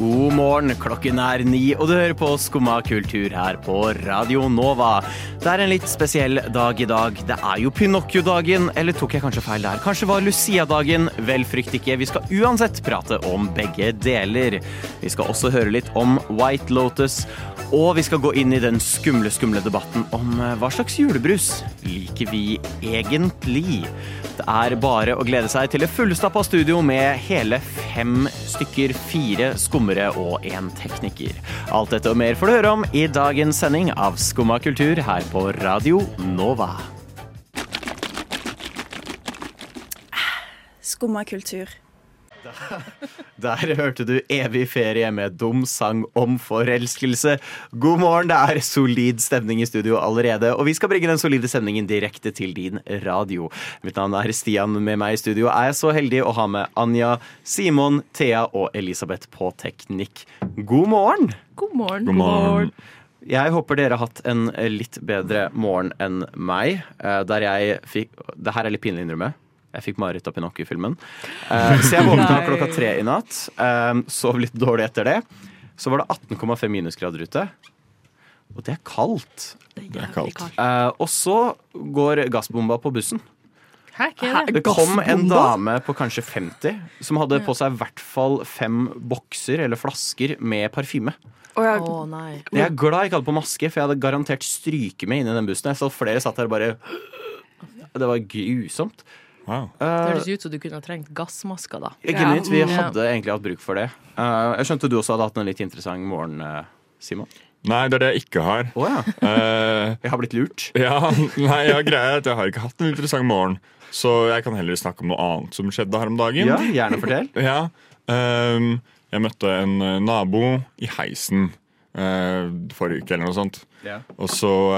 God morgen, klokken er ni, og du hører på Skumma kultur her på Radio Nova. Det er en litt spesiell dag i dag. Det er jo Pinocchio-dagen, eller tok jeg kanskje feil der? Kanskje var Lucia-dagen? Vel, frykt ikke, vi skal uansett prate om begge deler. Vi skal også høre litt om White Lotus, og vi skal gå inn i den skumle, skumle debatten om eh, hva slags julebrus liker vi egentlig? Det er bare å glede seg til et fullstappa studio med hele fem stykker, fire skummere og en tekniker. Alt dette og mer får du høre om i dagens sending av Skumma kultur her på Radio Nova. Skumma kultur. Der hørte du Evig ferie med dum sang om forelskelse. God morgen, det er solid stemning i studio allerede, og vi skal bringe den solide stemningen direkte til din radio. Mitt navn er Stian, med meg i studio er jeg så heldig å ha med Anja, Simon, Thea og Elisabeth på teknikk. God morgen! God morgen. Jeg håper dere har hatt en litt bedre morgen enn meg. eh, Der jeg fikk Det her er litt pinlig å innrømme. Jeg fikk mareritt av Pinocchio-filmen. Eh, Så jeg våkna Nei. klokka tre i natt. eh, Sov litt dårlig etter det. Så var det 18,5 minusgrader ute. Og det er kaldt. Det er kaldt. Eh, Og så går gassbomba på bussen. Hæ, hva er det? Det kom en dame på kanskje 50 som hadde på seg i hvert fall fem bokser eller flasker med parfyme. Og Å jeg, nei. Jeg er glad jeg ikke hadde på maske, for jeg hadde garantert stryke meg inn i den bussen. Jeg så flere satt der og bare Det var grusomt. Det høres ut som du kunne ha trengt gassmasker, da. Jeg glemmer ikke, Vi Ja. hadde egentlig hatt bruk for det. Eh, jeg skjønte du også hadde hatt en litt interessant morgen, eh, Simon. Nei, det er det jeg ikke har. Å ja. Eh, Jeg har blitt lurt. ja, nei, ja, greia er at Jeg har ikke hatt en interessant morgen, så jeg kan heller snakke om noe annet som skjedde her om dagen. Ja, gjerne fortell. Ja, ehm, jeg møtte en eh, nabo i heisen eh, forrige uke eller noe sånt. Og så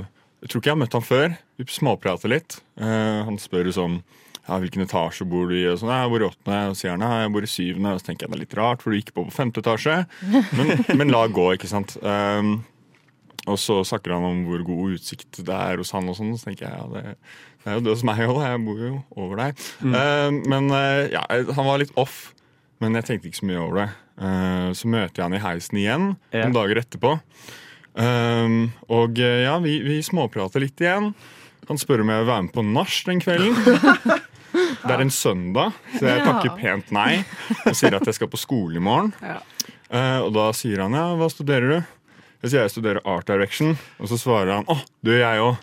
eh, Jeg tror ikke jeg har møtt han før. Vi småprater litt. Eh, han spør jo sånn ja, hvilken etasje bor du i? Og sånn, «Nei, jeg bor i åttende, og sier han «Nei, jeg bor i syvende. Og så tenker jeg det er litt rart, for du gikk på på femte etasje. Men, men la gå, ikke sant. Ehm, og så snakker han om hvor god utsikt det er hos han, og sånn, så tenker jeg ja, det, det er jo det hos meg òg, jeg bor jo over deg. Eh, men eh, ja, han var litt off, men jeg tenkte ikke så mye over det. Eh, så møter jeg han i heisen igjen Ja. noen dager etterpå. Um, og eh, ja, vi, vi småprater litt igjen. Han spør om jeg vil være med på nach den kvelden. Det er en søndag, så jeg Ja. takker pent nei. Og sier at jeg skal på skole i morgen. Eh, og da sier han ja, hva studerer du? Jeg sier jeg studerer Art Direction. Og så svarer han å, det gjør jeg òg.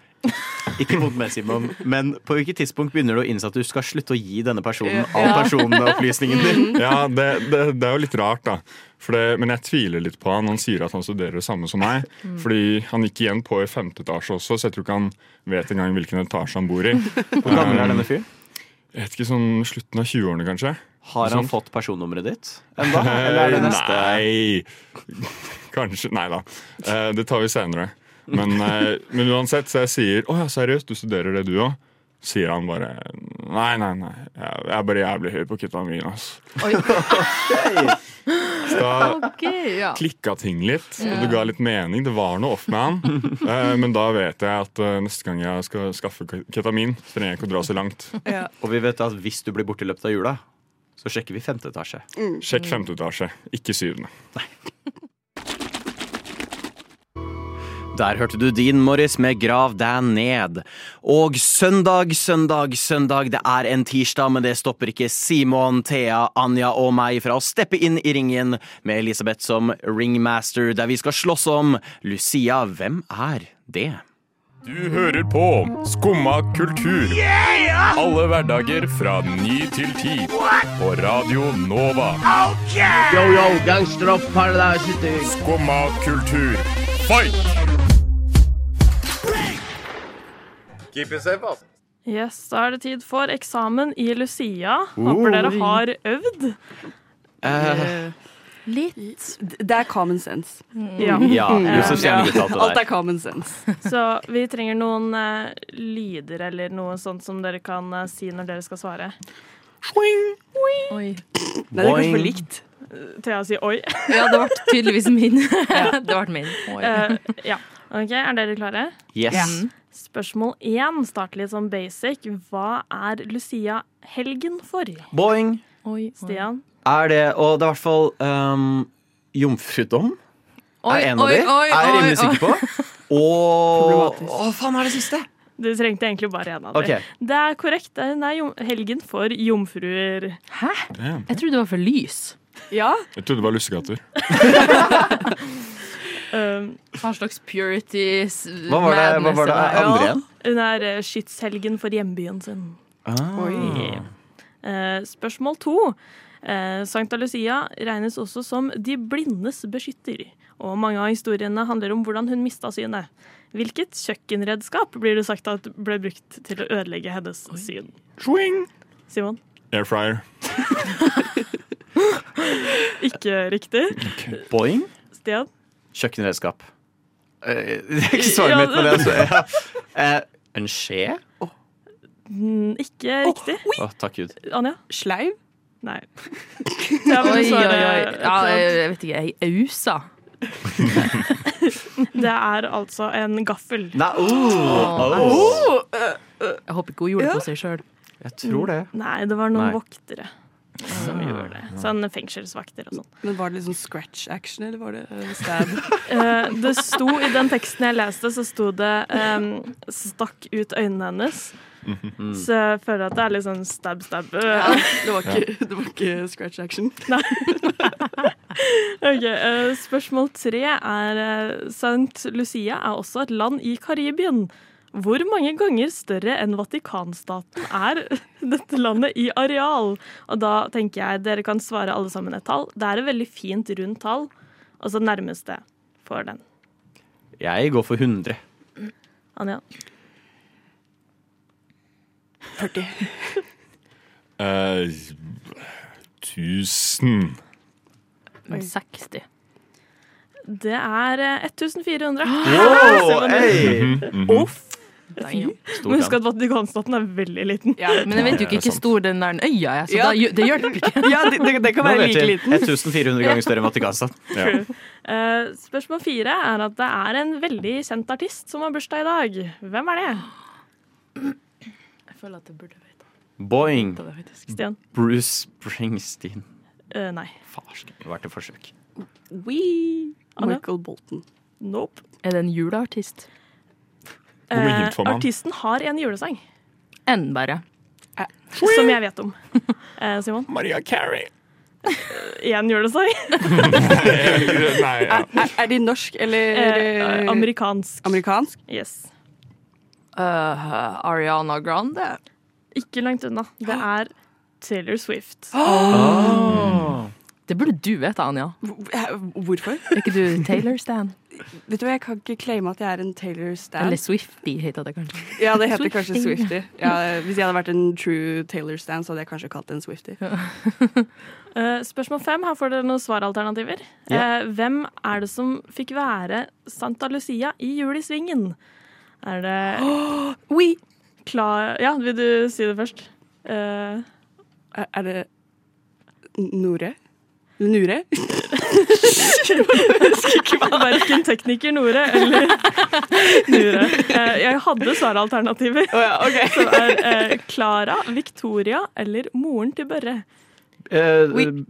Ikke mot meg, Simon, men på hvilket tidspunkt begynner du å innse at du skal slutte å gi denne personen all personopplysningen Mm. din? Ja, det, det, det er jo litt rart, da. For det, men jeg tviler litt på han. Han sier at han studerer det samme som meg. Fordi han gikk igjen på i femte etasje også, så jeg tror ikke han vet engang hvilken etasje han bor i. Hvor gammel er denne fyren? Jeg vet ikke, sånn slutten av 20-årene, kanskje? Har han Sånn. fått personnummeret ditt enda? Eller er det neste? Eh, Nei! Kanskje Nei da. Eh, det tar vi senere. Men, eh, men uansett, så jeg sier 'Å ja, seriøst, du studerer det du òg?' Sier han bare 'Nei, nei, nei. Jeg, jeg er bare jævlig høy på ketamin, ass'. Så da Ok, ja. klikka ting litt, og det ga litt mening. Det var noe off med han. Eh, men da vet jeg at eh, neste gang jeg skal skaffe ketamin, så trenger jeg ikke å dra så langt. Og vi vet at hvis du blir borte i løpet av jula, så sjekker vi femte etasje. Sjekk femte etasje, ikke syvende. Der hørte du Dean Morris med Grav deg ned. Og søndag, søndag, søndag. Det er en tirsdag, men det stopper ikke Simon, Thea, Anja og meg fra å steppe inn i ringen med Elisabeth som ringmaster, der vi skal slåss om Lucia. Hvem er det? Du hører på Skumma kultur. Alle hverdager fra ny til ti. På Radio Nova. Yo, yo, gangsterrock paradise. Skumma kultur. Fight! Yes, Da er det tid for eksamen i Lucia. Håper dere har øvd. Eh, litt. Det er common sense. Ja. Ja, Josef Stjernegutta til Alt deg. er common sense. Så vi trenger noen eh, lyder eller noe sånt som dere kan eh, si når dere skal svare. oi. Nei, det er kanskje Boing. for likt. Thea sier oi. Ja, det ble tydeligvis min. det ble min. Oi. Mm. Eh, ja. Ok, Er dere klare? Yes. Spørsmål én starter litt sånn basic. Hva er Lucia-helgen for? Boing. Oi, Stian? Er det Og det er i hvert fall ehm, jomfrudom. Oi, er en av oi, de. oi, er jeg rimelig oi, oi. sikker på. Og Å, faen, er det siste? Du trengte egentlig bare en av dem. Ok. Det er korrekt. Den er jom- helgen for jomfruer. Hæ? Damn. Jeg trodde det var for lys. Ja. Jeg trodde det var lussegater. Um, Hva slags purity s- Hva var det- hva var det madness er andre Ja. igjen? Hun er eh, skytshelgen for hjembyen sin. Ah. Oi. Eh, spørsmål to. Eh, Sankta Lucia regnes også som de blindes beskytter, og mange av historiene handler om hvordan hun mista synet. Hvilket kjøkkenredskap blir det sagt at ble brukt til å ødelegge hennes syn? Simon? Air fryer. Ikke riktig. Boing? Stian? Kjøkkenredskap. Eh, Det er ikke svaret mitt, men det er så, ja. Eh, En skje? Mm, Ikke riktig. Å, takk gud. Anja? Sleiv? Nei. Oi, oi, oi. Ja, jeg vet ikke. Ei ausa. Det er altså en gaffel. Nei, oh, Ah. Åh. Jeg håper ikke hun gjorde det på seg sjøl. Jeg tror det. Nei, det var noen Nei. voktere som gjorde det. Sånn fengselsvakter og sånn. Men var det liksom scratch action, eller var det eh, stab? Eh, det sto I den teksten jeg leste, så sto det ehm, 'stakk ut øynene hennes'. Så jeg føler at det er litt sånn stab, stab. Ja, det, var ikke, det var ikke scratch action. Nei. Ok, eh, Spørsmål tre er eh, Sankt Lucia er også et land i Karibien. Hvor mange ganger større enn Vatikanstaten er dette landet i areal? Og da tenker jeg dere kan svare alle sammen et tall. Det er et veldig fint rundt tall. Og så nærmeste for den. Jeg går for 100. Anja? 40. Eh, 1000. 60. Det er eh, 1400. Ah, Wow, hey! Mhm. Mhm, Uff. Damn. Men husk at Vatikanstaten er veldig liten. Men jeg vet jo ikke hvor stor den der øya er, så Ja. da gjø- det hjelper ikke. Ja, det- det- det kan Nå være vet like vi. liten. 1400 ganger større enn Vatikanstaten. True. Eh, spørsmål fire er at det er en veldig kjent artist som har bursdag i dag. Hvem er det? Jeg føler at det burde være Boing. Stian? Bruce Springsteen. Eh, nei. Farsken, det har vært et forsøk. We. Michael Bolton. Nope. Er det en juleartist? Hvor mye hint får man? Eh, artisten har en julesang Enn bare. som jeg vet om. Eh, Simon? Maria Carey. Én julesang? Eh, Nei, ja. Er, er de norsk eller Eh, amerikansk. Amerikansk? Yes. Ariana Grande. Ikke langt unna. Det er Taylor Swift. Ah. Mm. Det burde du vite, Anja. Hvorfor? Er ikke du Taylor Stan? Vet du hva, Jeg kan ikke claime at jeg er en Taylor Stan. Eller Swiftie heter det kanskje. Ja, det heter kanskje Swiftie. Swifty. Ja, hvis jeg hadde vært en true Taylor Stan, så hadde jeg kanskje kalt den Swifty. Eh, spørsmål fem. Her får dere noen svaralternativer. Ja. Eh, hvem er det som fikk være Santa Lucia i Jul i Svingen? Er det Oui! Kla ja, vil du si det først? Eh, Er, er det Nore? Nure? Verken tekniker Nore eller Nure. Eh, jeg hadde svaralternativer. Som er eh, Klara, Victoria eller moren til Børre. Oi. Eh,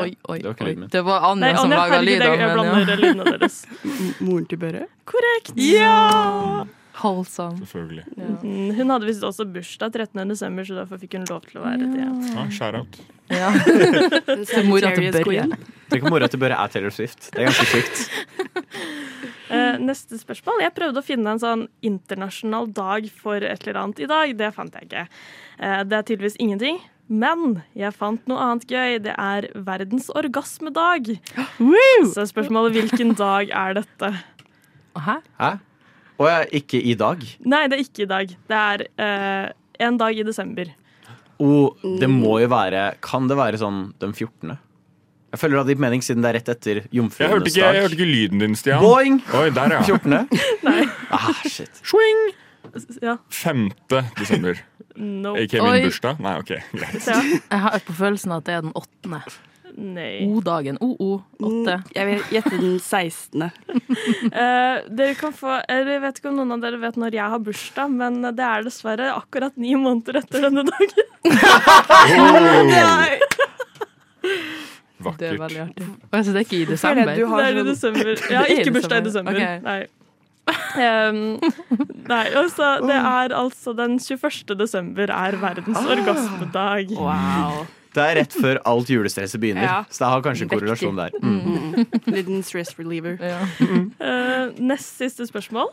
Oi, oi, Det var ikke oi. lyden min. Det var Anja Nei, som Anja, laga herregud, jeg- jeg blander lyder. lydene deres. Moren til Børre? Korrekt! Holdsam. Selvfølgelig. Mm, Hun hadde visst også bursdag 13. desember, så derfor fikk hun lov til å være det. Ja, Shout-out. Ja. Til mora til Børre. Tenk om mora til Børre er Taylor Swift. Det er ganske sykt. Eh, neste spørsmål. Jeg prøvde å finne en sånn internasjonal dag for et eller annet i dag. Det fant jeg ikke. Eh, det er tydeligvis ingenting. Men jeg fant noe annet gøy. Det er verdens orgasmedag. Så er spørsmålet hvilken dag er dette? Hæ? Og jeg, ikke i dag. Nei, det er ikke i dag. Det er eh, en dag i desember. Oh, det må jo være Kan det være sånn den 14.? Jeg føler det hadde gitt mening siden det er rett etter Jeg hørte, jomfruenes ikke, jeg dag. hørte ikke lyden din, Stian. Boing! Oi, der, ja. 14. Nei. Ah, shit. Swing! Ja. 5. desember. No. Ikke min bursdag? Nei, ok, greit. Så, ja. Jeg har på følelsen at det er den åttende. Nei. O-dagen. O-o-åtte. Mm, Jeg vil gjette den 16. Eh, dere kan få, eller jeg vet ikke om noen av dere vet når jeg har bursdag, men det er dessverre akkurat ni måneder etter denne dagen. Det er Oh, Vakkert. veldig artig. Og jeg synes det er ikke i Føler jeg desember. du Det har er i sånn desember. Jeg har Det er i ikke bursdag i desember. Ok. desember. Nei. Ehm, nei, og så det er altså den 21. desember er verdens Ah. orgasmedag. Wow. Det er rett før alt julestresset begynner, Ja. så det har kanskje en korrelasjon der. Mm. liten stress reliever. Ja. Eh, nest siste spørsmål.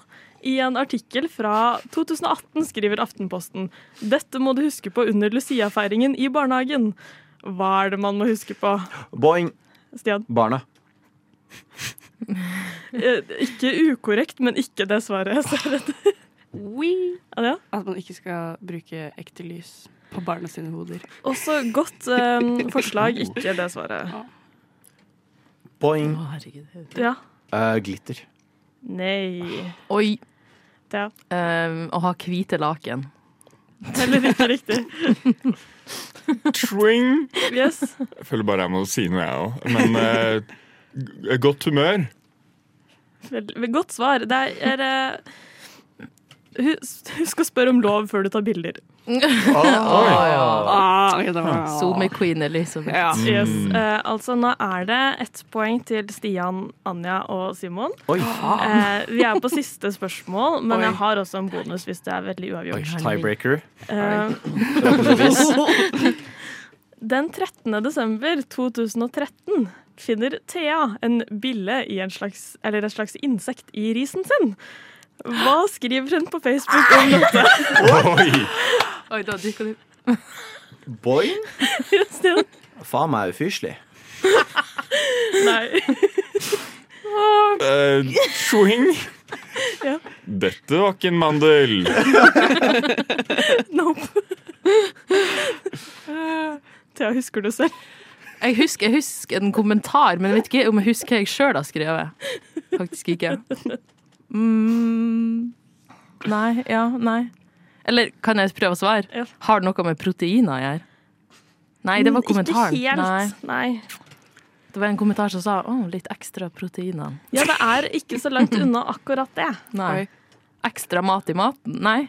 I en artikkel fra 2018 skriver Aftenposten Dette må du huske på under Lucia-feiringen i barnehagen. Hva er det man må huske på? Boing, Stian, barna. Eh, ikke ukorrekt, men ikke det svaret jeg ser etter. Adelina? At man ikke skal bruke ekte lys på barna sine hoder. Også godt eh, forslag, ikke det svaret. Boing. Å, herregud. Ja. Eh, glitter. Nei. Oi. Ja. Um, å ha hvite laken. Heller ikke riktig. Twing. Yes. Jeg føler bare jeg må si noe, jeg òg. Men eh, g- godt humør. Vel- Godt svar. Det er, er eh, hus- Husk å spørre om lov før du tar bilder. Ah, ok, det var- Zoom-queen Elisabeth. Ja. Yes. Eh, altså, nå er det ett poeng til Stian, Anja og Simon. Oi. Eh, vi er på siste spørsmål, men Oi. jeg har også en bonus hvis det er veldig Oi, uavgjort. tiebreaker. Eh, den 13. desember 2013 finner Thea en bille i en slags, eller et slags insekt i risen sin. Hva skriver hun på Facebook om dette? Oi! Oi, da dukka du Boing? Stian? Faen meg ufyselig. Nei. Eh, Twing. Ja. Dette var ikke en mandel. Nope. Eh, Thea, husker du selv? Jeg husker, jeg husker en kommentar, men jeg vet ikke om jeg husker hva jeg sjøl har skrevet. Faktisk ikke. Mm, nei, ja, nei. Eller kan jeg prøve å svare? Ja. Har det noe med proteiner å gjøre? Nei, det var kommentaren. Ikke Nei, helt. Nei. det var en kommentar som sa å, litt ekstra proteiner. Ja, det er ikke så langt unna akkurat det. Nei. Oi. Ekstra mat i maten? Nei.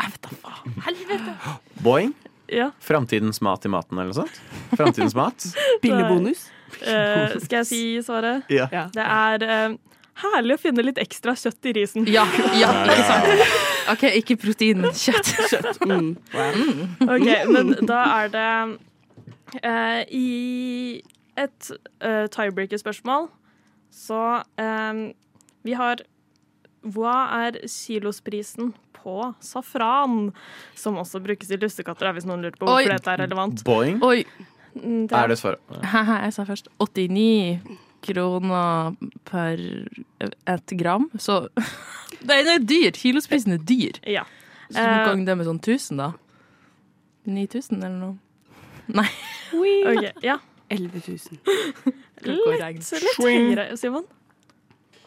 Jeg vet da faen. Boing. Ja, Framtidens mat i maten, eller noe sånt? Framtidens mat? Billebonus. eh, Skal jeg si svaret? Ja. Ja. Det er eh, herlig å finne litt ekstra kjøtt i risen. Ja, ja, ikke sant. OK, ikke protein, men kjøtt. Mm. Ok, Men da er det eh, i et eh, tiebreaker-spørsmål så eh, vi har Hva er kilosprisen på safran, som også brukes i lussekatter, da, hvis noen lurer på Oi. hvorfor dette er relevant? Boing? Oi, Mm, det er- Er det svaret? Haha, jeg sa først 89 kroner per et gram, så Nei, det er dyr. Kilosprisen er dyr. Ja. Så du Eh. ganger det med sånn 1000, da. 9000 eller noe. Nei. Ok, ja. 11 000. Kan ikke gå og regne. Så litt Swing. høyere, Simon.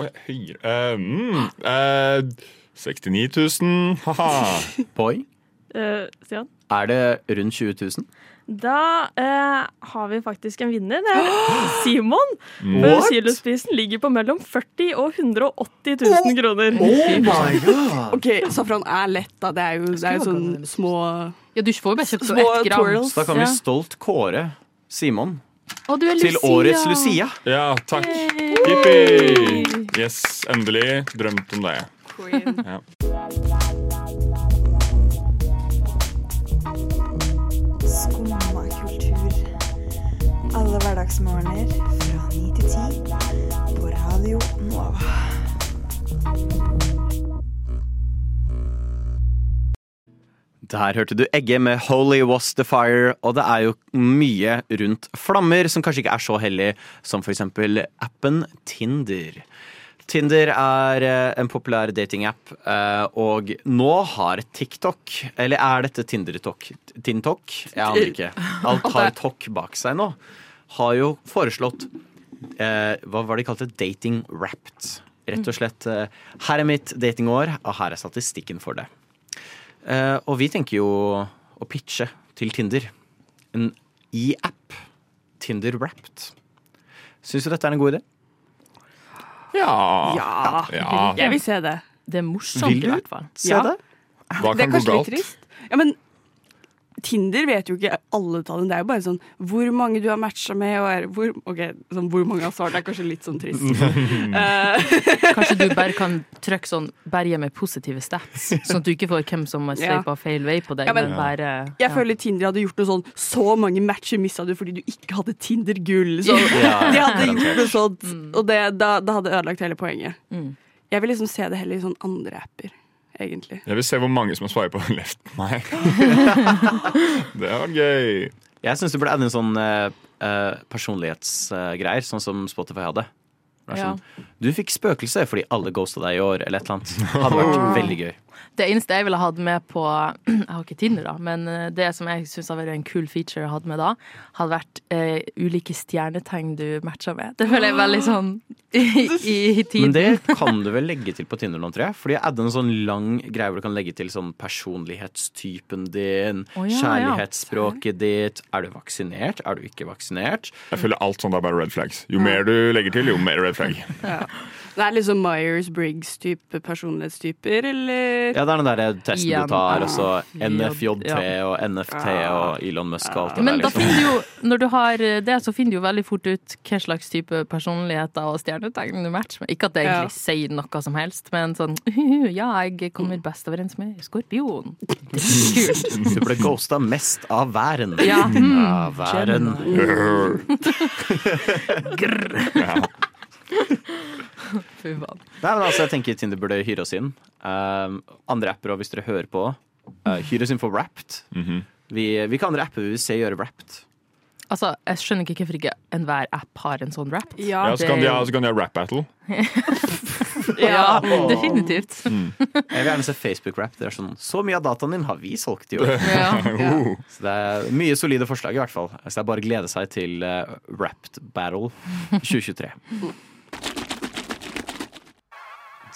Oi, høyere Eh, mm, eh, 69 000. Haha. Boing? Eh, Stian? Er det rundt 20 000? Da eh, har vi faktisk en vinner. Det er Simon. For What? Kilosprisen ligger på mellom 40 og 180 000 kroner. my god! OK, safran er lett, da. Det er jo, det er jo sånn små Ja, du får jo bare kjøpt sånn Små ett gram. twirls. Så da kan vi Ja. stolt kåre Simon Å, du er til Lucia. årets Lucia. Ja, takk. Jippi! Yes, endelig. Drømt om det. Skumma kultur. Alle hverdagsmorgener fra 9 til 10 på Radio Nova. Der hørte du Egge med 'Holy Was The Fire', og det er jo mye rundt flammer som kanskje ikke er så hellig som for eksempel appen Tinder. Tinder er eh, en populær datingapp, eh, og nå har TikTok Eller er dette Tinder-tok? Tintok? Jeg aner ikke. Alt har tok bak seg nå. Har jo foreslått eh, Hva var det de kalte? Dating wrapped. Rett og slett eh, Her er mitt datingår, og her er statistikken for det. Eh, og vi tenker jo å pitche til Tinder. En e-app Tinder Wrapped. Syns du dette er en god idé? Ja. Ja. Ja. Jeg vil se det. Det er morsomt, Vil i du hvert fall. Se Ja. det? Hva Det er kan gå kanskje litt galt? trist. Ja, men Tinder vet jo ikke alle tallene. Det er jo bare sånn hvor mange du har matcha med, og er, hvor, ok, sånn, hvor mange har svart. Det er kanskje litt sånn trist. Eh, Kanskje du bare kan trykke sånn berge med positive stats, sånn at du ikke får hvem som har Ja. sveipa feil vei på deg. Ja, men- men bare, ja. jeg føler Tinder hadde gjort noe sånn Så mange matcher missa du fordi du ikke hadde Tinder-gull. sånn- Så de hadde gjort noe sånt, og det, da, da hadde ødelagt hele poenget. Jeg vil liksom se det heller i sånn andre apper, egentlig. Jeg vil se hvor mange som har sveipa left meg. det var gøy. Jeg syns du burde ende en sånn personlighetsgreier, sånn som Spotify hadde. Det er Ja. Sånn, du fikk spøkelse fordi alle ghosta deg i år, eller et eller annet. Hadde vært veldig gøy. Det eneste jeg ville hatt med på Jeg har ikke Tinder, da, men eh, det som jeg syns hadde vært en cool feature å ha med da, hadde vært eh, ulike stjernetegn du matcher med. Det føler jeg er veldig sånn i, i, i Men tiden. det kan du vel legge til på Tinder nå, tror jeg. Fordi jeg hadde en sånn lang greie hvor du kan legge til sånn personlighetstypen din, Å, ja, ja. kjærlighetsspråket ditt, er du vaksinert, er du ikke vaksinert? Jeg føler alt sånt er bare red flags. Jo mer du legger til, jo mer red flag. Det er liksom Myers-Briggs-type personlighetstyper, eller Ja, det er den derre testen Igjen. du tar, og så Ah, Ja. Ah. NFJT og NFT og Elon Musk og alt det Men der, da liksom. finner du jo, når du har eh, det, så finner du jo veldig fort ut hva slags type personligheter og stjernetegn du matcher med. Ikke at det Ja. egentlig sier noe som helst, men sånn Ja, jeg kommer best overens med skorpion. Kult. Du ble ghosta mest av væren. Ja. mm. Av væren. Gemini. Fy faen. Nei, men altså, jeg tenker Tinder burde hyre oss inn. Um, andre apper, og hvis dere hører på, uh, hyr oss inn for Wrapped. Mhm. vi, hvilke andre apper vil vi se gjøre Wrapped? Altså, jeg skjønner ikke hvorfor ikke enhver app har en sånn rap. Ja, Ja, så kan de det- ha, så kan de ha rap battle. Ja, definitivt. Mhm. Jeg vil gjerne se Facebook-rap. Det er sånn, Så mye av dataen din har vi solgt i år. Ja. Så det er mye solide forslag, i hvert fall. Så det er bare å glede seg til uh, Wrapped Battle 2023.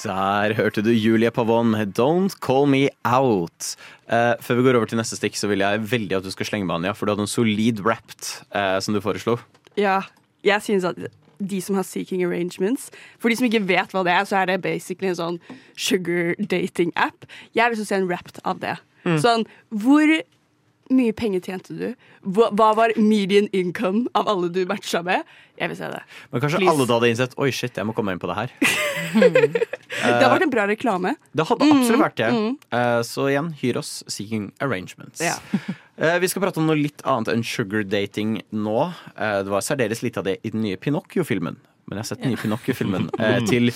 Der hørte du Julie Pavon med 'Don't Call Me Out'. Eh, før vi går over til neste stikk, så vil jeg veldig at du skal slenge med Anja, for du hadde en solid wrapped eh, som du foreslo. Ja, jeg synes at de som har seeking arrangements For de som ikke vet hva det er, så er det basically en sånn sugar dating app. Jeg har lyst til å se en rapt av det. Sånn, hvor mye penger tjente du? Hva, hva var median income av alle du matcha med? Jeg vil se det. Men kanskje Please. alle da hadde innsett 'oi, shit, jeg må komme inn på det her'. Det har vært en bra reklame. Det hadde absolutt vært det. Eh, så igjen, hyr oss Seeking Arrangements. Mm, Ja. Eh, vi skal prate om noe litt annet enn sugar dating nå. Eh, det var særdeles lite av det i den nye Pinocchio-filmen. Men jeg har sett den nye Pinocchio-filmen eh, til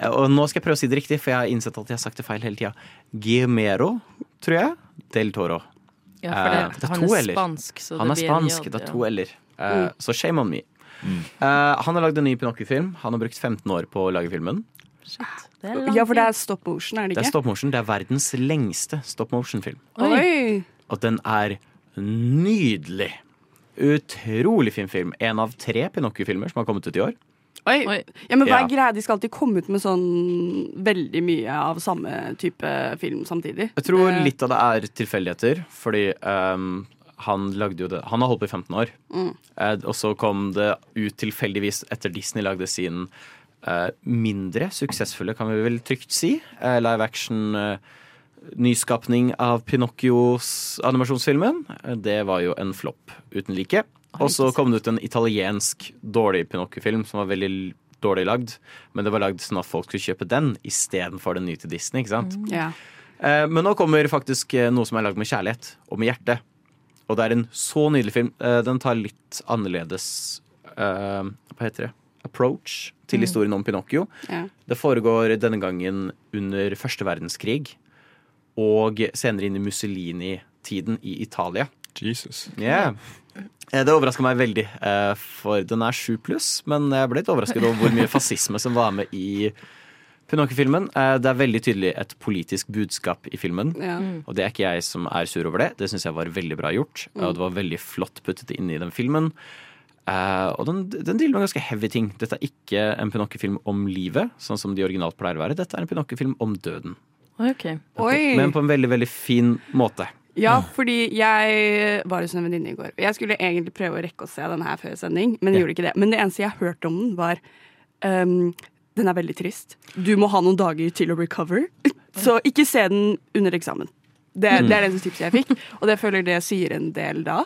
eh, Og nå skal jeg prøve å si det riktig, for jeg har innsett at jeg har sagt det feil hele tida. Giemero, tror jeg. Del Toro. ja, for det, Eh, det er han to er eller? spansk, så Han er det blir en spansk. jod, Det er ja. Mm. to eller. Eh, Så shame on me. Eh, han har lagd en ny Pinocchio-film. Han har brukt 15 år på å lage filmen. Shit, det er lang Ja, for det tid. er stop motion, er det Det er ikke? stop motion. Det er verdens lengste stop motion-film. Oi. Og den er nydelig. Utrolig fin film. En av tre Pinocchio-filmer som har kommet ut i år. Oi. Oi. Ja, men hva er Ja. greia? De skal alltid komme ut med sånn veldig mye av samme type film samtidig. Jeg tror litt av det er tilfeldigheter, fordi ehm, han lagde jo det Han har holdt på i 15 år. Eh, og så kom det ut tilfeldigvis etter Disney lagde sin eh, mindre suksessfulle, kan vi vel trygt si, eh, live action eh, Nyskapning av Pinocchios animasjonsfilmen. Eh, Det var jo en flopp uten like. Og så kom det ut en italiensk dårlig Pinocchio-film som var veldig l- dårlig lagd. Men det var lagd sånn at folk skulle kjøpe den istedenfor den nye til Disney. ikke sant? Ja. Eh, Men nå kommer faktisk eh, noe som er lagd med kjærlighet og med hjerte. Og det er en så nydelig film. Eh, Den tar litt annerledes eh, Hva heter det? Approach til historien om Pinocchio. Ja. Det foregår denne gangen under første verdenskrig. Og senere inn i Mussolini-tiden i Italia. Jesus. Yeah. Eh, Det overraska meg veldig, eh, for den er sju pluss. Men jeg ble litt overrasket over hvor mye fascisme som var med i Pinocchio-filmen. Eh, Det er veldig tydelig et politisk budskap i filmen. Ja. Mm. Og det er ikke jeg som er sur over det. Det syns jeg var veldig bra gjort. Og det var veldig flott puttet inn i den filmen. Eh, og den, den dealer med ganske heavy ting. Dette er ikke en Pinocchio-film om livet, sånn som de originalt pleier å være. Dette er en Pinocchio-film om døden. Ok. Oi. Men på en veldig, veldig fin måte. Ja, fordi jeg var hos en venninne i går. Jeg skulle egentlig prøve å rekke å se den her før sending, men jeg gjorde ikke det. Men det eneste jeg hørte om den, var ehm, Den er veldig trist. Du må ha noen dager til å recover. Så ikke se den under eksamen. Det, Mm. det er det eneste tipset jeg fikk, og det føler det sier en del da.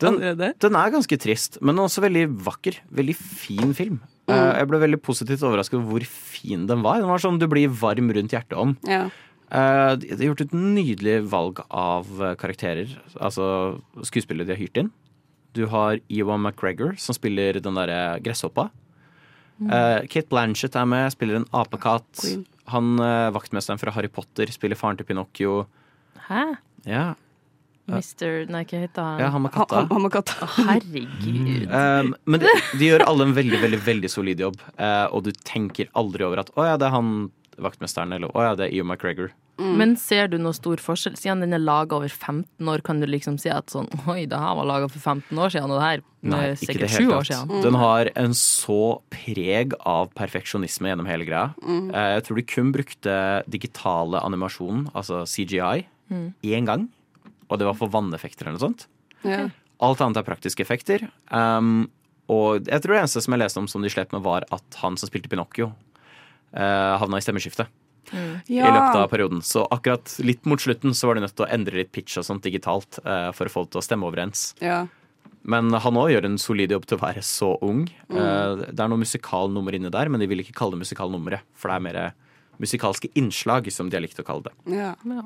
Den, allerede. den er ganske trist, men også veldig vakker. Veldig fin film. Eh, Jeg ble veldig positivt overrasket over hvor fin den var. Den var sånn du blir varm rundt hjertet om. Ja. Eh, De de har gjort et nydelig valg av eh, karakterer, altså skuespillere de har hyrt inn. Du har Ewan McGregor, som spiller den derre gresshoppa. Eh, Kate Blanchett er med, spiller en apekatt. Mm. Ah, Queen. Han eh, vaktmesteren fra Harry Potter spiller faren til Pinocchio. Hæ? Ja, Mister Nei, hva heter han? ja han med Han, katta. han- han må katta. Herregud. Um, men de, de gjør alle en veldig veldig, veldig solid jobb, eh, og du tenker aldri over at 'Å ja, det er han vaktmesteren', eller 'Å ja, det er Eo McGregor'. Men ser du noe stor forskjell? Siden den er laga over 15 år, kan du liksom si at sånn Oi, det her var laga for 15 år siden, og det her er sikkert 7 år siden. Den har en så preg av perfeksjonisme gjennom hele greia. Eh, jeg tror de kun brukte digitale animasjon, altså CGI, Mm. én gang. Og det var for vanneffekter eller noe sånt. Ja. Alt annet er praktiske effekter. Um, og jeg tror det eneste som jeg leste om som de slet med, var at han som spilte Pinocchio, eh, havna i stemmeskiftet. i løpet av perioden. Så akkurat litt mot slutten så var de nødt til å endre litt pitch og sånt digitalt eh, for å få det til å stemme overens. Ja. Men han òg gjør en solid jobb til å være så ung. Eh, det er noe musikalnummer inni der, men de vil ikke kalle det musikalnummeret. For det er mer musikalske innslag, som de har likt å kalle det. Ja. Ja.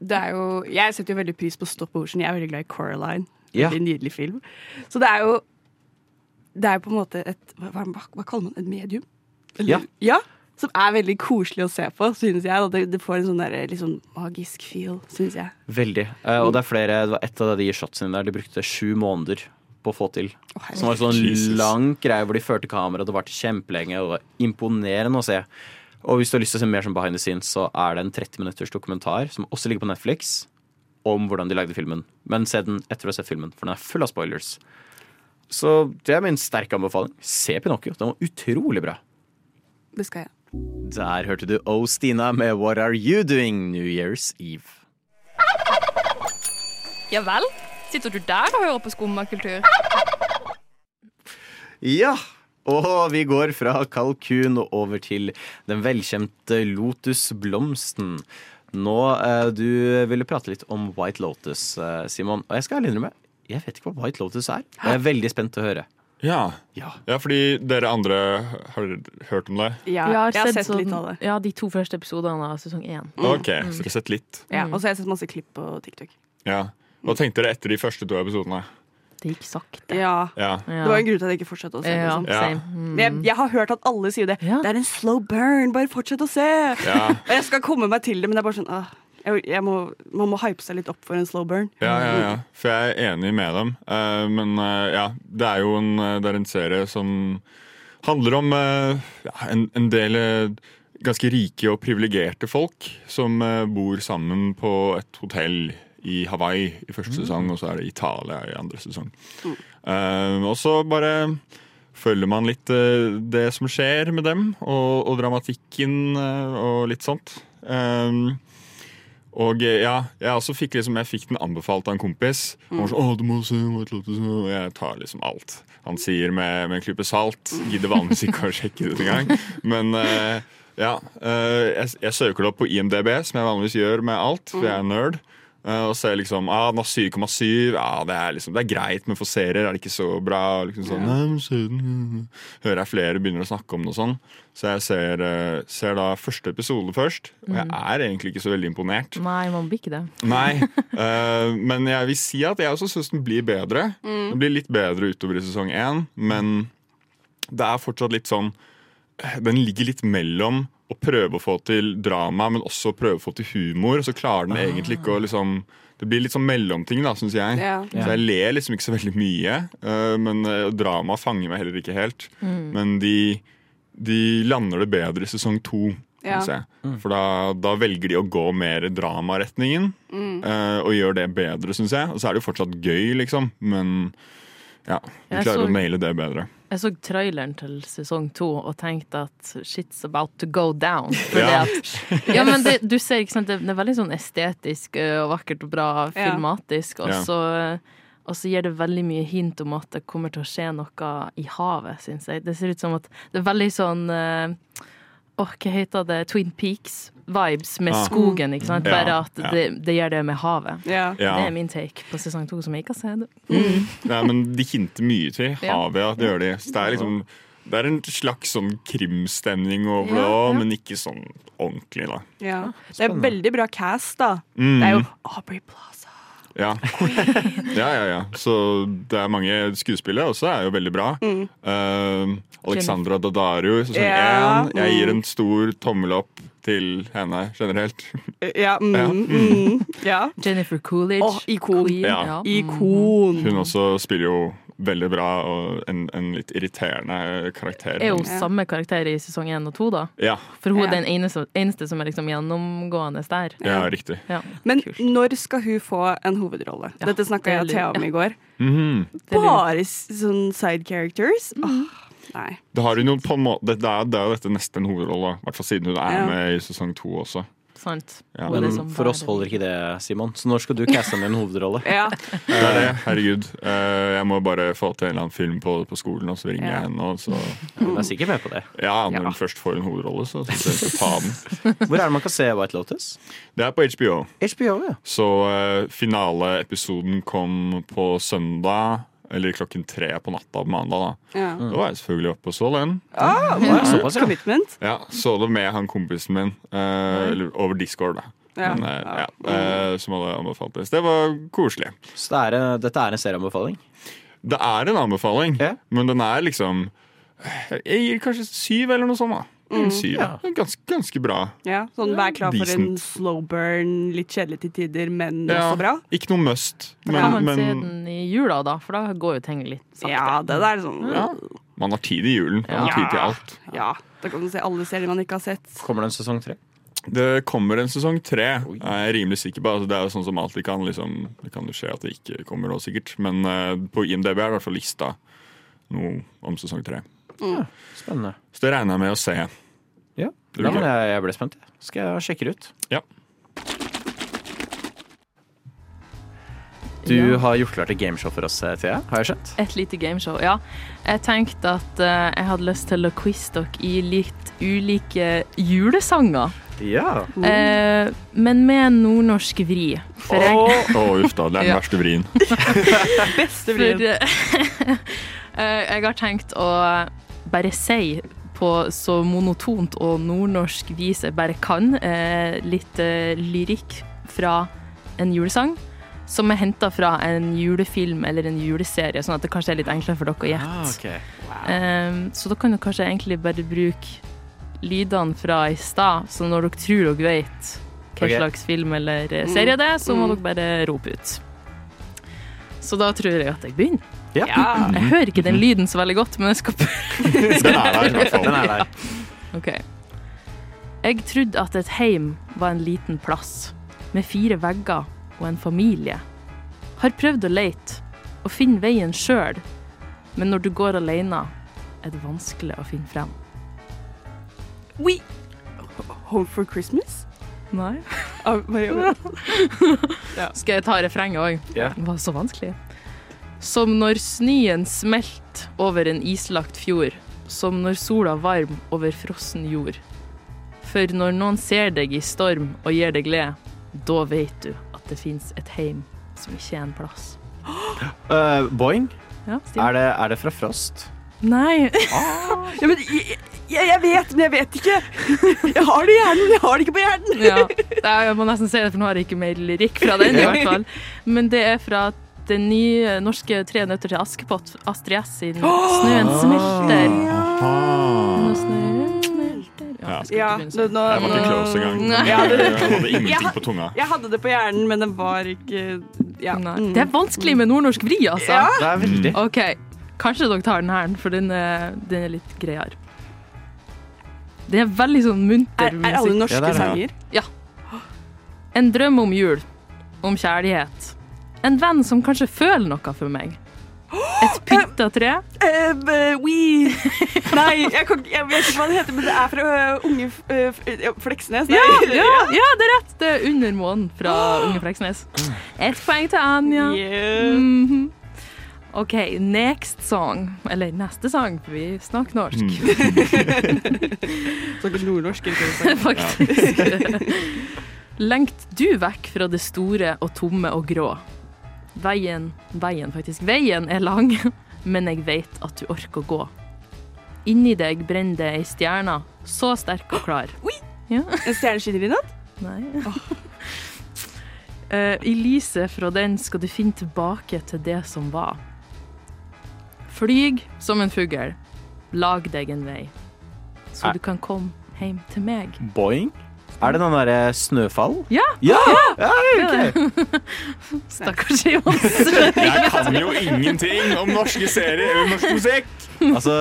Det er jo, jeg setter jo veldig pris på Stop Ocean. Jeg er veldig glad i Coraline. Ja. Veldig nydelig film. Så det er jo Det er jo på en måte et Hva, hva, hva kaller man det? et medium? Ja. Ja, Som er veldig koselig å se på, synes jeg. Og det, det får en sånn der, litt sånn magisk feel, synes jeg. Veldig. Eh, og det er flere, det var ett av de shotsene der de brukte sju måneder på å få til. Å, herregud. Som var en sånn Jesus. lang greie hvor de førte kamera, det varte kjempelenge. Og det var imponerende å se. Og hvis du har lyst til å se mer som behind the scenes, så er det en 30 minutters dokumentar som også ligger på Netflix, om hvordan de lagde filmen. Men se den etter å ha sett filmen, for den er full av spoilers. Så det er min sterke anbefaling. Se Pinocchio. Den var utrolig bra. Det skal jeg. Der hørte du O. Stina med What Are You Doing New Year's Eve. Ja vel? Sitter du der og hører på skummakultur? Ja, og vi går fra kalkun og over til den velkjente lotusblomsten. Nå, eh, du ville prate litt om White Lotus, eh, Simon. Og jeg skal ærlig innrømme, jeg vet ikke hva White Lotus er. Og jeg er veldig spent til å høre. Ja. Ja. ja, fordi dere andre har hørt om det? Ja, jeg har, sett, sånn- litt av det. Ja, de to første episodene av sesong én. Ok, så dere har sett litt. Ja, og så har jeg sett masse klipp på TikTok. Ja. Hva tenkte dere etter de første to episodene? Det gikk sakte. Ja. Ja. Ja. Det var en grunn til at jeg ikke fortsatte å se. ja, Liksom. Ja. same. Mm. Jeg, jeg har hørt at alle sier det. Ja. Det er en slow burn, bare fortsett å se! Ja. Og jeg skal komme meg til det, men det er bare sånn ah, jeg, jeg må, Man må hype seg litt opp for en slow burn. Ja, ja, ja. For jeg er enig med dem. Eh, men eh, ja, det er jo en, eh, det er en serie som handler om eh, ja, en, en del eh, ganske rike og privilegerte folk som eh, bor sammen på et hotell i Hawaii i første sesong, og så er det Italia i andre sesong. Eh, og så bare følger man litt eh, det som skjer med dem, og, og dramatikken eh, og litt sånt. Eh, og eh, ja, jeg også fikk liksom, jeg fikk den anbefalt av en kompis. Han var sånn, Å, du må se White Lotus. nå». Og jeg tar liksom alt han sier med, med en klype salt. Gidder vanligvis ikke å sjekke det engang. Men eh, ja, eh, jeg, jeg søker det opp på IMDb, som jeg vanligvis gjør med alt, for jeg er nerd. Eh, og ser liksom ah, den har 7,7. Ja, det er liksom, det er greit, men for serier er det ikke så bra. Og Liksom sånn, Nei, men se den. Hører jeg flere begynner å snakke om det og sånn. Så jeg ser, eh, ser da første episode først, og jeg er egentlig ikke så veldig imponert. Nei, man blir ikke det. Nei, eh, men jeg vil si at jeg også syns den blir bedre. Den blir litt bedre utover i sesong én, men det er fortsatt litt sånn eh, Den ligger litt mellom å prøve å få til drama, men også prøve å få til humor. Så klarer den egentlig ikke å liksom Det blir litt sånn mellomting, da, syns jeg. Ja. Så jeg ler liksom ikke så veldig mye, eh, men eh, drama fanger meg heller ikke helt. Men de, de lander det bedre i sesong to. Ja. synes jeg. For da, da velger de å gå mer dramaretningen, Mm. eh, og gjør det bedre, syns jeg. Og så er det jo fortsatt gøy, liksom, men ja, de Jeg så- klarer å naile det bedre. Jeg så traileren til sesong to og tenkte at shit's about to go down. Fordi Ja. at, ja, men det, du ser, ikke sant, det, det er veldig sånn estetisk ø, og vakkert og bra Ja. filmatisk, og Ja. så, og så gir det veldig mye hint om at det kommer til å skje noe i havet, syns jeg. Det ser ut som at det er veldig sånn ø, Åh, hva heter det? Twin Peaks-vibes med Ah. skogen, ikke sant? Ja, Bare at ja. det, det gjør det med havet. Ja. Ja. Det er min take på sesong to, som jeg ikke har sett. Nei, men de hinter mye til Ja. havet. Ja. Det gjør de. Så det er liksom det er en slags sånn krimstemning over det Ja, òg, ja. men ikke sånn ordentlig, da. Ja. Ah, Det er veldig bra cast, da. Mm. Det er jo Aubrey Plaza. Ja. ja, ja, ja. Så det er mange skuespillere også, er jo veldig bra. Mm. Eh, Alexandra Daddario i sesong Ja, én. Jeg gir mm. en stor tommel opp til henne generelt. Ja. Mm, Ja. Mm, ja. Jennifer Coolidge. Åh, ikon. Ja. Ikon. Hun også spiller jo veldig bra, og en, en litt irriterende karakter. Er jo samme karakter i sesong én og to, da. Ja. For hun er den eneste, eneste som er liksom gjennomgående der. Ja, riktig. Ja. Men når skal hun få en hovedrolle? Dette snakka jeg og det Thea lurer- ja. om i går. Mhm. Bare s- sånn side characters? Mm. Åh, nei. Det, har hun jo på en måte, det, er, det er jo dette nesten en hovedrolle, i hvert fall siden hun er Ja. med i sesong to også. Sant. liksom Ja. Men for oss holder ikke det, Simon. Så når skal du caste henne i en hovedrolle? Ja. Det er det, herregud. Eh, Jeg må bare få til en eller annen film på, på skolen, og så ringer Ja. jeg henne. Og så, Hun er sikkert med på det. ja, Når hun først får en hovedrolle, så skal jeg ikke ta den. Hvor er det man kan se White Lotus? Det er på HBO. HBO, ja. Så eh, finaleepisoden kom på søndag, eller klokken tre på natta på mandag. da Ja. Da var jeg selvfølgelig oppe og så den. Ah, wow. Såpass, ja. Commitment. Ja, Så det med han kompisen min, eh, eller over Discord, da. Ja. Mm. Men, eh, ja, eh, som hadde anbefalt det. Så det var koselig. Så det er, eh, dette er en serieanbefaling? Det er en anbefaling, men den er liksom Jeg gir kanskje syv eller noe sånt. da Mm. En Syv. Ja. Ganske, ganske bra. Ja, sånn vær klar for en Decent. slow burn, litt kjedelig til tider, men Ja, også bra. Ikke noe must, Da kan man men, se men den i jula, da, for da går jo ting litt sakte. Ja, det der er sånn Ja. man har tid i julen. Man har tid til alt. Ja, da kan du se alle serier man ikke har sett. Kommer det en sesong tre? Det kommer en sesong tre, er jeg rimelig sikker på. Altså, det er jo sånn som alltid kan liksom, Det kan jo skje at det ikke kommer nå, sikkert. Men eh, på IMDb er det i hvert fall lista noe om sesong tre. Ja, spennende. Så det regner jeg med å se. Ja, Det Nei, blir men gøy. jeg, jeg ble spent. jeg. Skal jeg sjekke det ut? Ja. Du Ja. har gjort klar til gameshow for oss, eh, Thea. Har jeg skjønt? Et lite gameshow, ja. Jeg tenkte at eh, jeg hadde lyst til å quize dere i litt ulike julesanger. Ja. Uh. Eh, men med en nordnorsk vri. For jeg, Å, uff da. Det er den Ja. verste vrien. Beste For, eh, jeg har tenkt å bare si på så monotont og nordnorsk vis jeg bare kan, eh, litt eh, lyrikk fra en julesang som er henta fra en julefilm eller en juleserie, sånn at det kanskje er litt enklere for dere å Ah, gjette. Eh, så da kan dere kanskje egentlig bare bruke lydene fra i stad, så når dere tror dere vet hva Ok. slags film eller eh, serie det er, så må Mm. dere bare rope ut. Så da tror jeg at jeg begynner. Ja. Ah. Jeg hører ikke den lyden så veldig godt, men jeg skal prøve. Den er der, i hvert fall. Den er der. OK. Jeg trodde at et heim var en liten plass, med fire vegger og en familie. Har prøvd å leite, og finne veien sjøl, men når du går alene, er det vanskelig å finne frem. We Home for Christmas? Nei. Av Maria Skal jeg ta refrenget òg? Ja. Det var så vanskelig. Som når snøen smelt over en islagt fjord, som når sola varm over frossen jord. For når noen ser deg i storm og gir deg glede, da vet du at det fins et heim som ikke er en plass. Eh, Boing, Ja, er det, er det fra Frost? Nei. ja, men jeg, jeg, jeg vet, men jeg vet ikke. Jeg har det i hjernen, men jeg har det ikke på hjernen. Ja, det er- jeg må nesten si det, for nå har jeg ikke mer lyrikk fra den, i hvert fall. Men det er fra den nye norske Tre nøtter til Askepott, Astrid S sin 'Snøen smelter'. Nå snør det, smelter. Ja, Ja, nå- nå- Jeg var ikke close engang. Nei. Jeg hadde ingenting Jeg- på tunga. Jeg hadde det på hjernen, men den var ikke ja. Mm. Det er vanskelig med nordnorsk vri, altså. Ja. Det er veldig. OK, kanskje dere tar den her, for den er, den er litt greiere. Det er veldig sånn munter Er- er alle musikk. norske Ja, det er det. sanger? Ja. En drøm om jul. Om kjærlighet. En venn som kanskje føler noe for meg. Et pyntetre. weed. Nei, jeg, kan, ikke- jeg vet ikke hva det heter, men det er fra øh, Unge f- øh, f- øh, Fleksnes. Nei. Ja, ja, ja, det er rett! Det er under månen fra Unge Fleksnes. Ett poeng til Anja. Mm. Mhm. OK, next song. Eller neste sang, for vi snakker norsk. Mm. Snakker nordnorsk, Faktisk. Lengt du vekk fra det store og tomme og grå? Veien, veien faktisk, veien er lang, men jeg vet at du orker å gå. Inni deg brenner det ei stjerne, så sterk og klar. En stjerne skinner i natt? Nei. Eh, I lyset fra den skal du finne tilbake til det som var. Flyg som en fugl. Lag deg en vei, så du kan komme hjem til meg. Boing? Er det den derre snøfall? Ja! Ja! det er det. Stakkars Johan Sverre. Jeg kan jo ingenting om norske serier eller norsk musikk! Altså,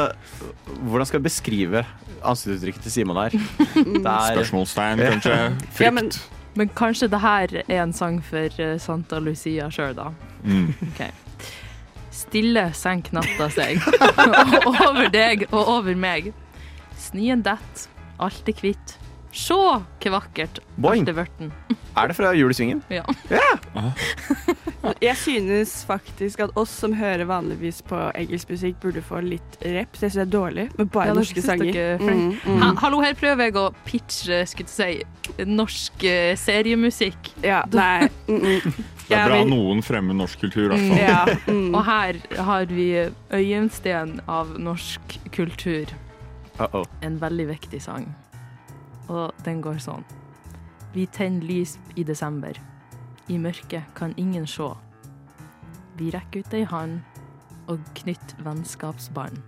hvordan skal jeg beskrive ansiktsuttrykket til Simon her? Spørsmålstegn, kanskje. Ja, men, men kanskje det her er en sang for eh, Santa Lucia sjøl, da. Mm. Ok. Stille senk natta seg Og over deg og over meg. Snøen dett, alt er hvitt. Sjå hvor vakkert Boing. alt er vørten. Er det fra Jul i Svingen? Ja. Jeg synes faktisk at oss som hører vanligvis på engelsk musikk, burde få litt rep. Så jeg synes det er dårlig med bare Ja, dere norske synes sanger. dere er Mm, flinke. mm. Ha, hallo, her prøver jeg å pitche eh, skulle jeg si, norsk eh, seriemusikk. Ja, nei. Mm -mm. Det er bra Jeg vil- noen fremmer norsk kultur, i hvert Mm. fall. Og her har vi eh, øyensten av norsk kultur. Uh-oh. En veldig viktig sang. Og den går sånn. Vi tenner lys i desember. I mørket kan ingen sjå. Vi rekker ut ei hand og knytter vennskapsbånd.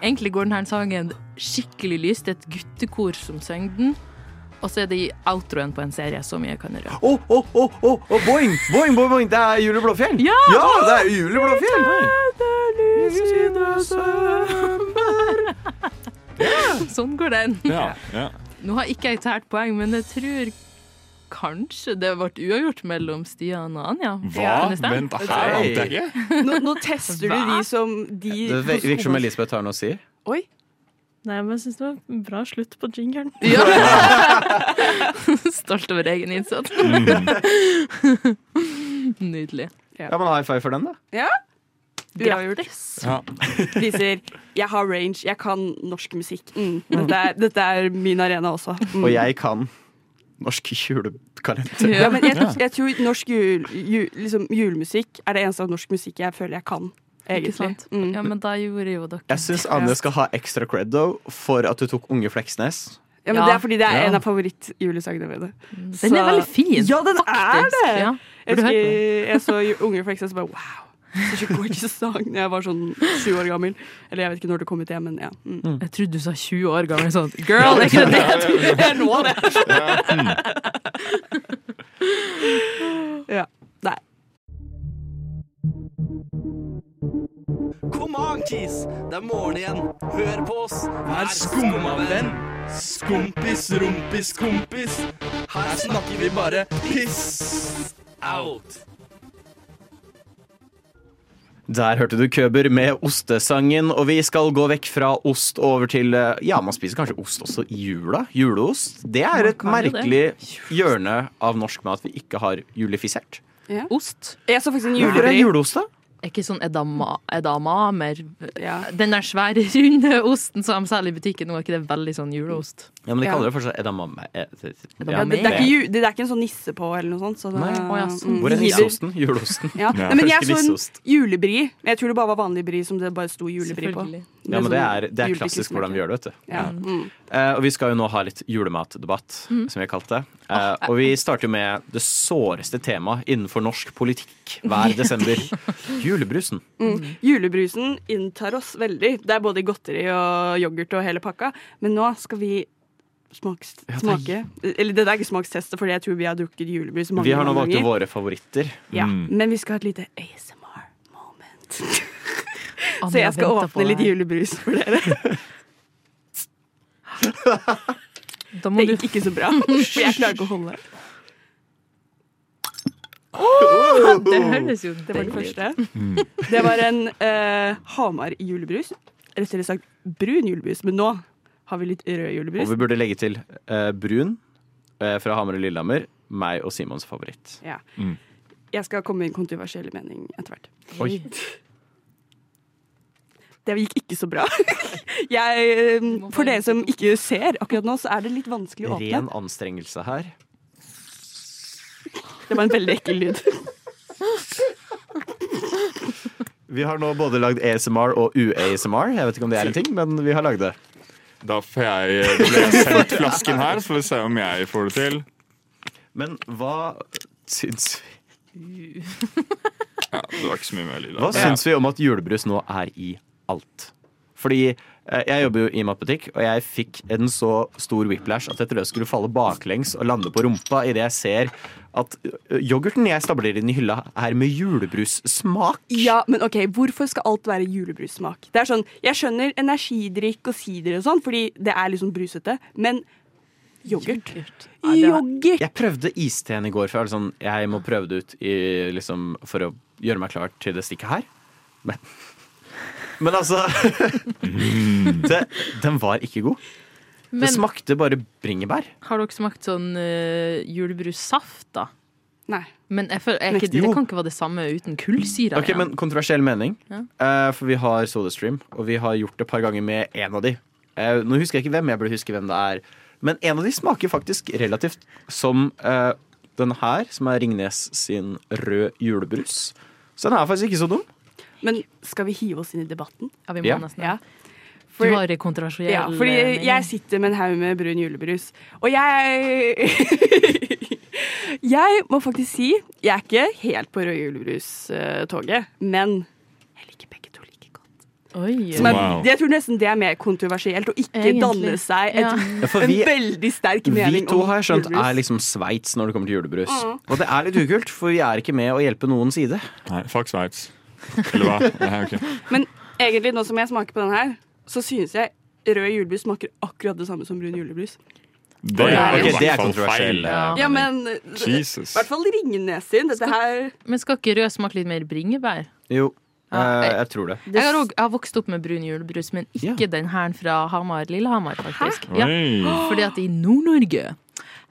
Egentlig går denne sangen skikkelig lyst. Det er et guttekor som synger den. Og så er det i outroen på en serie så mye jeg kan røpe. Å, å, å, å, å, boing! Boing, boing, boing! Det er Jul i Blåfjell! Ja! det er Jul i Blåfjell! Sånn går den. Ja, ja. Nå har ikke jeg tært poeng, men jeg tror kanskje det ble uavgjort mellom Stian og Anja. Hva? Kan det stemme? Vent, her vant jeg ikke. Nå, nå tester du de som de Det vir- virker som Elisabeth har noe å si. Oi. Nei, men jeg syns det var en bra slutt på jingeren. Stolt over egen innsats. Nydelig. Ja, men high five for den, da. Ja. Grattis. Ja. Viser jeg har range, jeg kan norsk musikk. Mm. Dette, er, dette er min arena også. Mm. Og jeg kan norsk julekalender. Ja, men jeg, jeg tror norsk jul, jul, liksom, julemusikk er det eneste av norsk musikk jeg føler jeg kan. Egentlig. Mm. Ikke sant? Ja, men da gjorde jo dere Jeg syns Anne skal ha ekstra credo for at du tok Unge Fleksnes. Ja, men Det er fordi det er Ja. en av favorittjulesangene mine. Den er veldig fin, Ja, den er det! Ja. Jeg Burde hørt på husker den. jeg så Unge Fleksnes og bare wow. Så gorgeous sang da jeg var sånn sju år gammel. Eller jeg vet ikke når det kom ut, jeg, men ja. Mm. Jeg trodde du sa 20 år gammel sånn Girl, er ikke det det? du- Det er nå, det. ja. Nei. Kom on, kids! Det er morgen igjen. Hør på oss. Vær skumma venn. Skumpis, rumpis, kompis. Her snakker vi bare piss out. Der hørte du Køber med ostesangen, og vi skal gå vekk fra ost over til eh, Ja, man spiser kanskje ost også i jula. Juleost. Det er et Man kan jo det. merkelig hjørne av norsk mat vi ikke har julifisert. Ost. Jeg så faktisk en Hvorfor er juleost, da? Er ikke sånn edama, edamamer Den der svære, runde osten som de selger i butikken nå, er ikke det veldig sånn juleost? Ja, men de Ja. kaller det fortsatt edamame. eh, eh, Ja, det, det, er ikke, ju- det er ikke en sånn nisse på eller noe sånt. Så det, Nei. Å, ja, sånn. Mm. Hvor er nisseosten? Juleosten? Ja. Nei, men jeg Ferske så en nisseost. julebri. Jeg tror det bare var vanlig bri som det bare sto julebri på. Selvfølgelig. Ja, men det er, det er Julebri- klassisk hvordan vi gjør det, vet du. Ja. Mm. Eh, og vi skal jo nå ha litt julematdebatt, som vi har kalt det. Eh, og vi starter jo med det såreste temaet innenfor norsk politikk hver desember. Julebrusen. Mm. Julebrusen inntar oss veldig. Det er både godteri og yoghurt og hele pakka. Men nå skal vi smaks, smake Eller det er ikke smakstest, for jeg tror vi har drukket julebrus mange Vi har nå mange valgt Mm. ut ganger. våre favoritter. Ja. Men vi skal ha et lite ASMR-moment. Så jeg skal åpne litt julebrus for dere. Da må du Det gikk ikke så bra, for jeg klarer ikke å holde. Oi! Det høres jo Det var deilig det ut. første. Mm. Det var en eh, Hamar julebrus. Eller rettere sagt brun julebrus, men nå har vi litt rød Og julebrus. vi burde legge til eh, Brun eh, fra Hamar og Lillehammer. Meg og Simons favoritt. Ja. Jeg skal komme med en kontroversiell mening etter hvert. Oi. Det gikk ikke så bra. Jeg, eh, for dere som ikke ser akkurat nå, så er det litt vanskelig å åpne. Ren anstrengelse her. Det var en veldig ekkel lyd. Vi har nå både lagd E ASMR og E UASMR. Jeg vet ikke om det er en ting, men vi har lagd det. Da får jeg da blir jeg sendt flasken her, så får vi se om jeg får det til. Men hva syns Ja, det var ikke så mye mer lyd. Hva syns vi om at julebrus nå er i alt? Fordi eh, jeg jobber jo i matbutikk, og jeg fikk en så stor whiplash at jeg trodde jeg skulle falle baklengs og lande på rumpa idet jeg ser at eh, yoghurten jeg stabler inn i hylla, er med julebrussmak. Ja, men ok, hvorfor skal alt være julebrussmak? Det er sånn, Jeg skjønner energidrikk og sider og sånn, fordi det er liksom brusete, men yoghurt Yoghurt! Jeg prøvde isteen i går, for jeg var litt sånn, jeg må prøve det ut i, liksom, for å gjøre meg klar til det stikket her. Men, men altså det, Den var ikke god. Men det smakte bare bringebær. har dere smakt sånn uh, julebrussaft, da? Nei. Men jeg føler, er ikke, Jo. det kan ikke være det samme uten kullsyra. Ok, men Kontroversiell mening. Ja. Eh, for vi har SodaStream, og vi har gjort det et par ganger med en av de. Eh, nå husker jeg ikke hvem, jeg burde huske hvem det er. Men en av de smaker faktisk relativt som eh, den her, som er Ringnes sin rød julebrus. Så den er faktisk ikke så dum. Men skal vi hive oss inn i debatten? Ja, vi må Ja. nesten. Du har en kontroversiell ja, fordi mening. jeg sitter med en haug med brun julebrus, og jeg Jeg må faktisk si jeg er ikke helt på rød julebrus-toget, men Oi. som er, jeg tror nesten det er mer kontroversielt å ikke Egentlig. danne seg et, Ja. Ja, for vi- en veldig sterk Vi mening to om har jeg skjønt julebrus. er liksom Sveits når det kommer til julebrus. Mm. Og det er litt ukult, for vi er ikke med å hjelpe noen side. Nei, fuck Sveits. Eller hva? Nei, ok. Men egentlig, nå som jeg smaker på den her, så synes jeg rød julebrus smaker akkurat det samme som brun julebrus. Det er, Ok, jo i det er hvert fall kontroversiell, feil. eh, Ja, men i Jesus. hvert fall Ringnes sin. Dette her Men skal ikke rød smake litt mer bringebær? Jo, Ja, eh, jeg- jeg tror det. Jeg har, også, jeg har vokst opp med brun julebrus, men ikke den her fra Hamar, Lillehammer, faktisk. Hæ? Ja. Oi. Fordi at i Nord-Norge,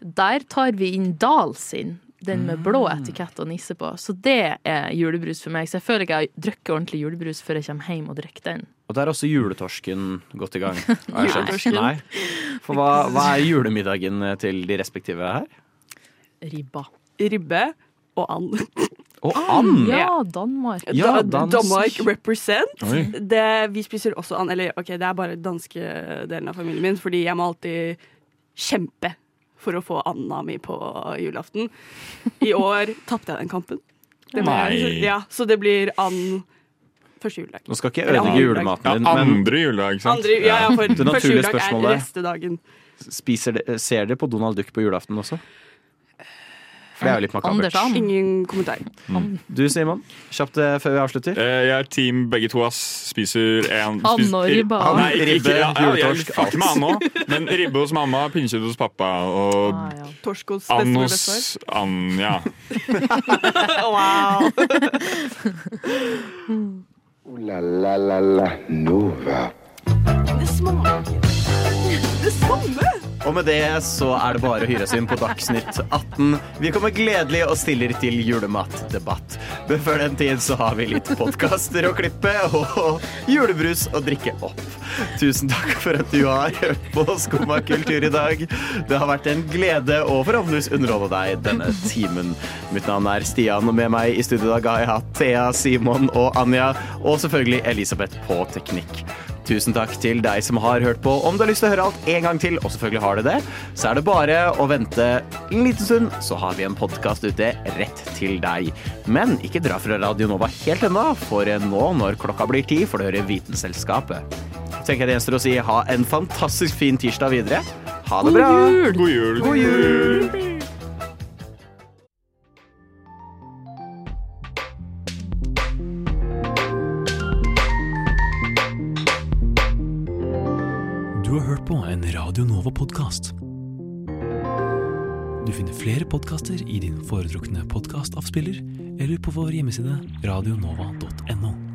der tar vi inn Dal sin. Den med blå etikett og nisse på. Så det er julebrus for meg. Så jeg føler ikke jeg har drukket ordentlig julebrus før jeg kommer hjem og drikker den. Og der er også juletorsken godt i gang. Har jeg skjønt. Juletorsken? Nei. For hva, hva er julemiddagen eh, til de respektive her? Ribba. Ribbe og and. Og and! Ja, Danmark. Ja, Da- dans. Danmark represent. Oi. Det, vi spiser også and. Eller ok, det er bare danske delen av familien min, fordi jeg må alltid kjempe for å få anda mi på julaften. I år tapte jeg den kampen. Det må jeg Nei. liksom- ja, så det blir and første juledag. Nå skal ikke jeg Eller ødelegge andre julematen din, Ja, men- andre juledag, ikke sant? Andre, ja, ja, for Det første naturlige juledag er spørsmålet. restedagen. Spiser de, ser dere på Donald Duck på julaften også? For det er jo litt makabert. Ingen kommentar. Du, Simon. Kjapt eh, før vi avslutter. Eh, Jeg er team begge to, ass. Spiser And en spiser- og ribbe. Ah, Nei, Ribbe, ikke, ja, ja, jeg juletorsk, fucker med and nå. Men ribbe hos mamma, pinnekjøtt hos pappa og Torsk hos and bestemor og bestefar. hos and, ja. wow. Ooh la la la la Nova. Det smaker det samme! Og med det så er det bare å hyre oss inn på Dagsnytt 18. Vi kommer gledelig og stiller til julematdebatt. Men før den tid så har vi litt podkaster å klippe og julebrus å drikke opp. Tusen takk for at du har hørt på Skumma kultur i dag. Det har vært en glede å forhåpentligvis underholde deg denne timen. Mitt navn er Stian, og med meg i studio i dag har jeg hatt Thea, Simon og Anja, og selvfølgelig Elisabeth på teknikk. Tusen takk til deg som har hørt på. Om du har lyst til å høre alt en gang til, og selvfølgelig har du det, så er det bare å vente en liten stund, så har vi en podkast ute rett til deg. Men ikke dra fra Radio Nova helt ennå, for nå når klokka blir ti, får du høre Vitenselskapet. Tenker jeg det gjenstår å si ha en fantastisk fin tirsdag videre. Ha det bra! God jul. God jul. Du har hørt på en Radio Nova-podkast. Du finner flere podkaster i din foretrukne podkastavspiller eller på vår hjemmeside radionova.no.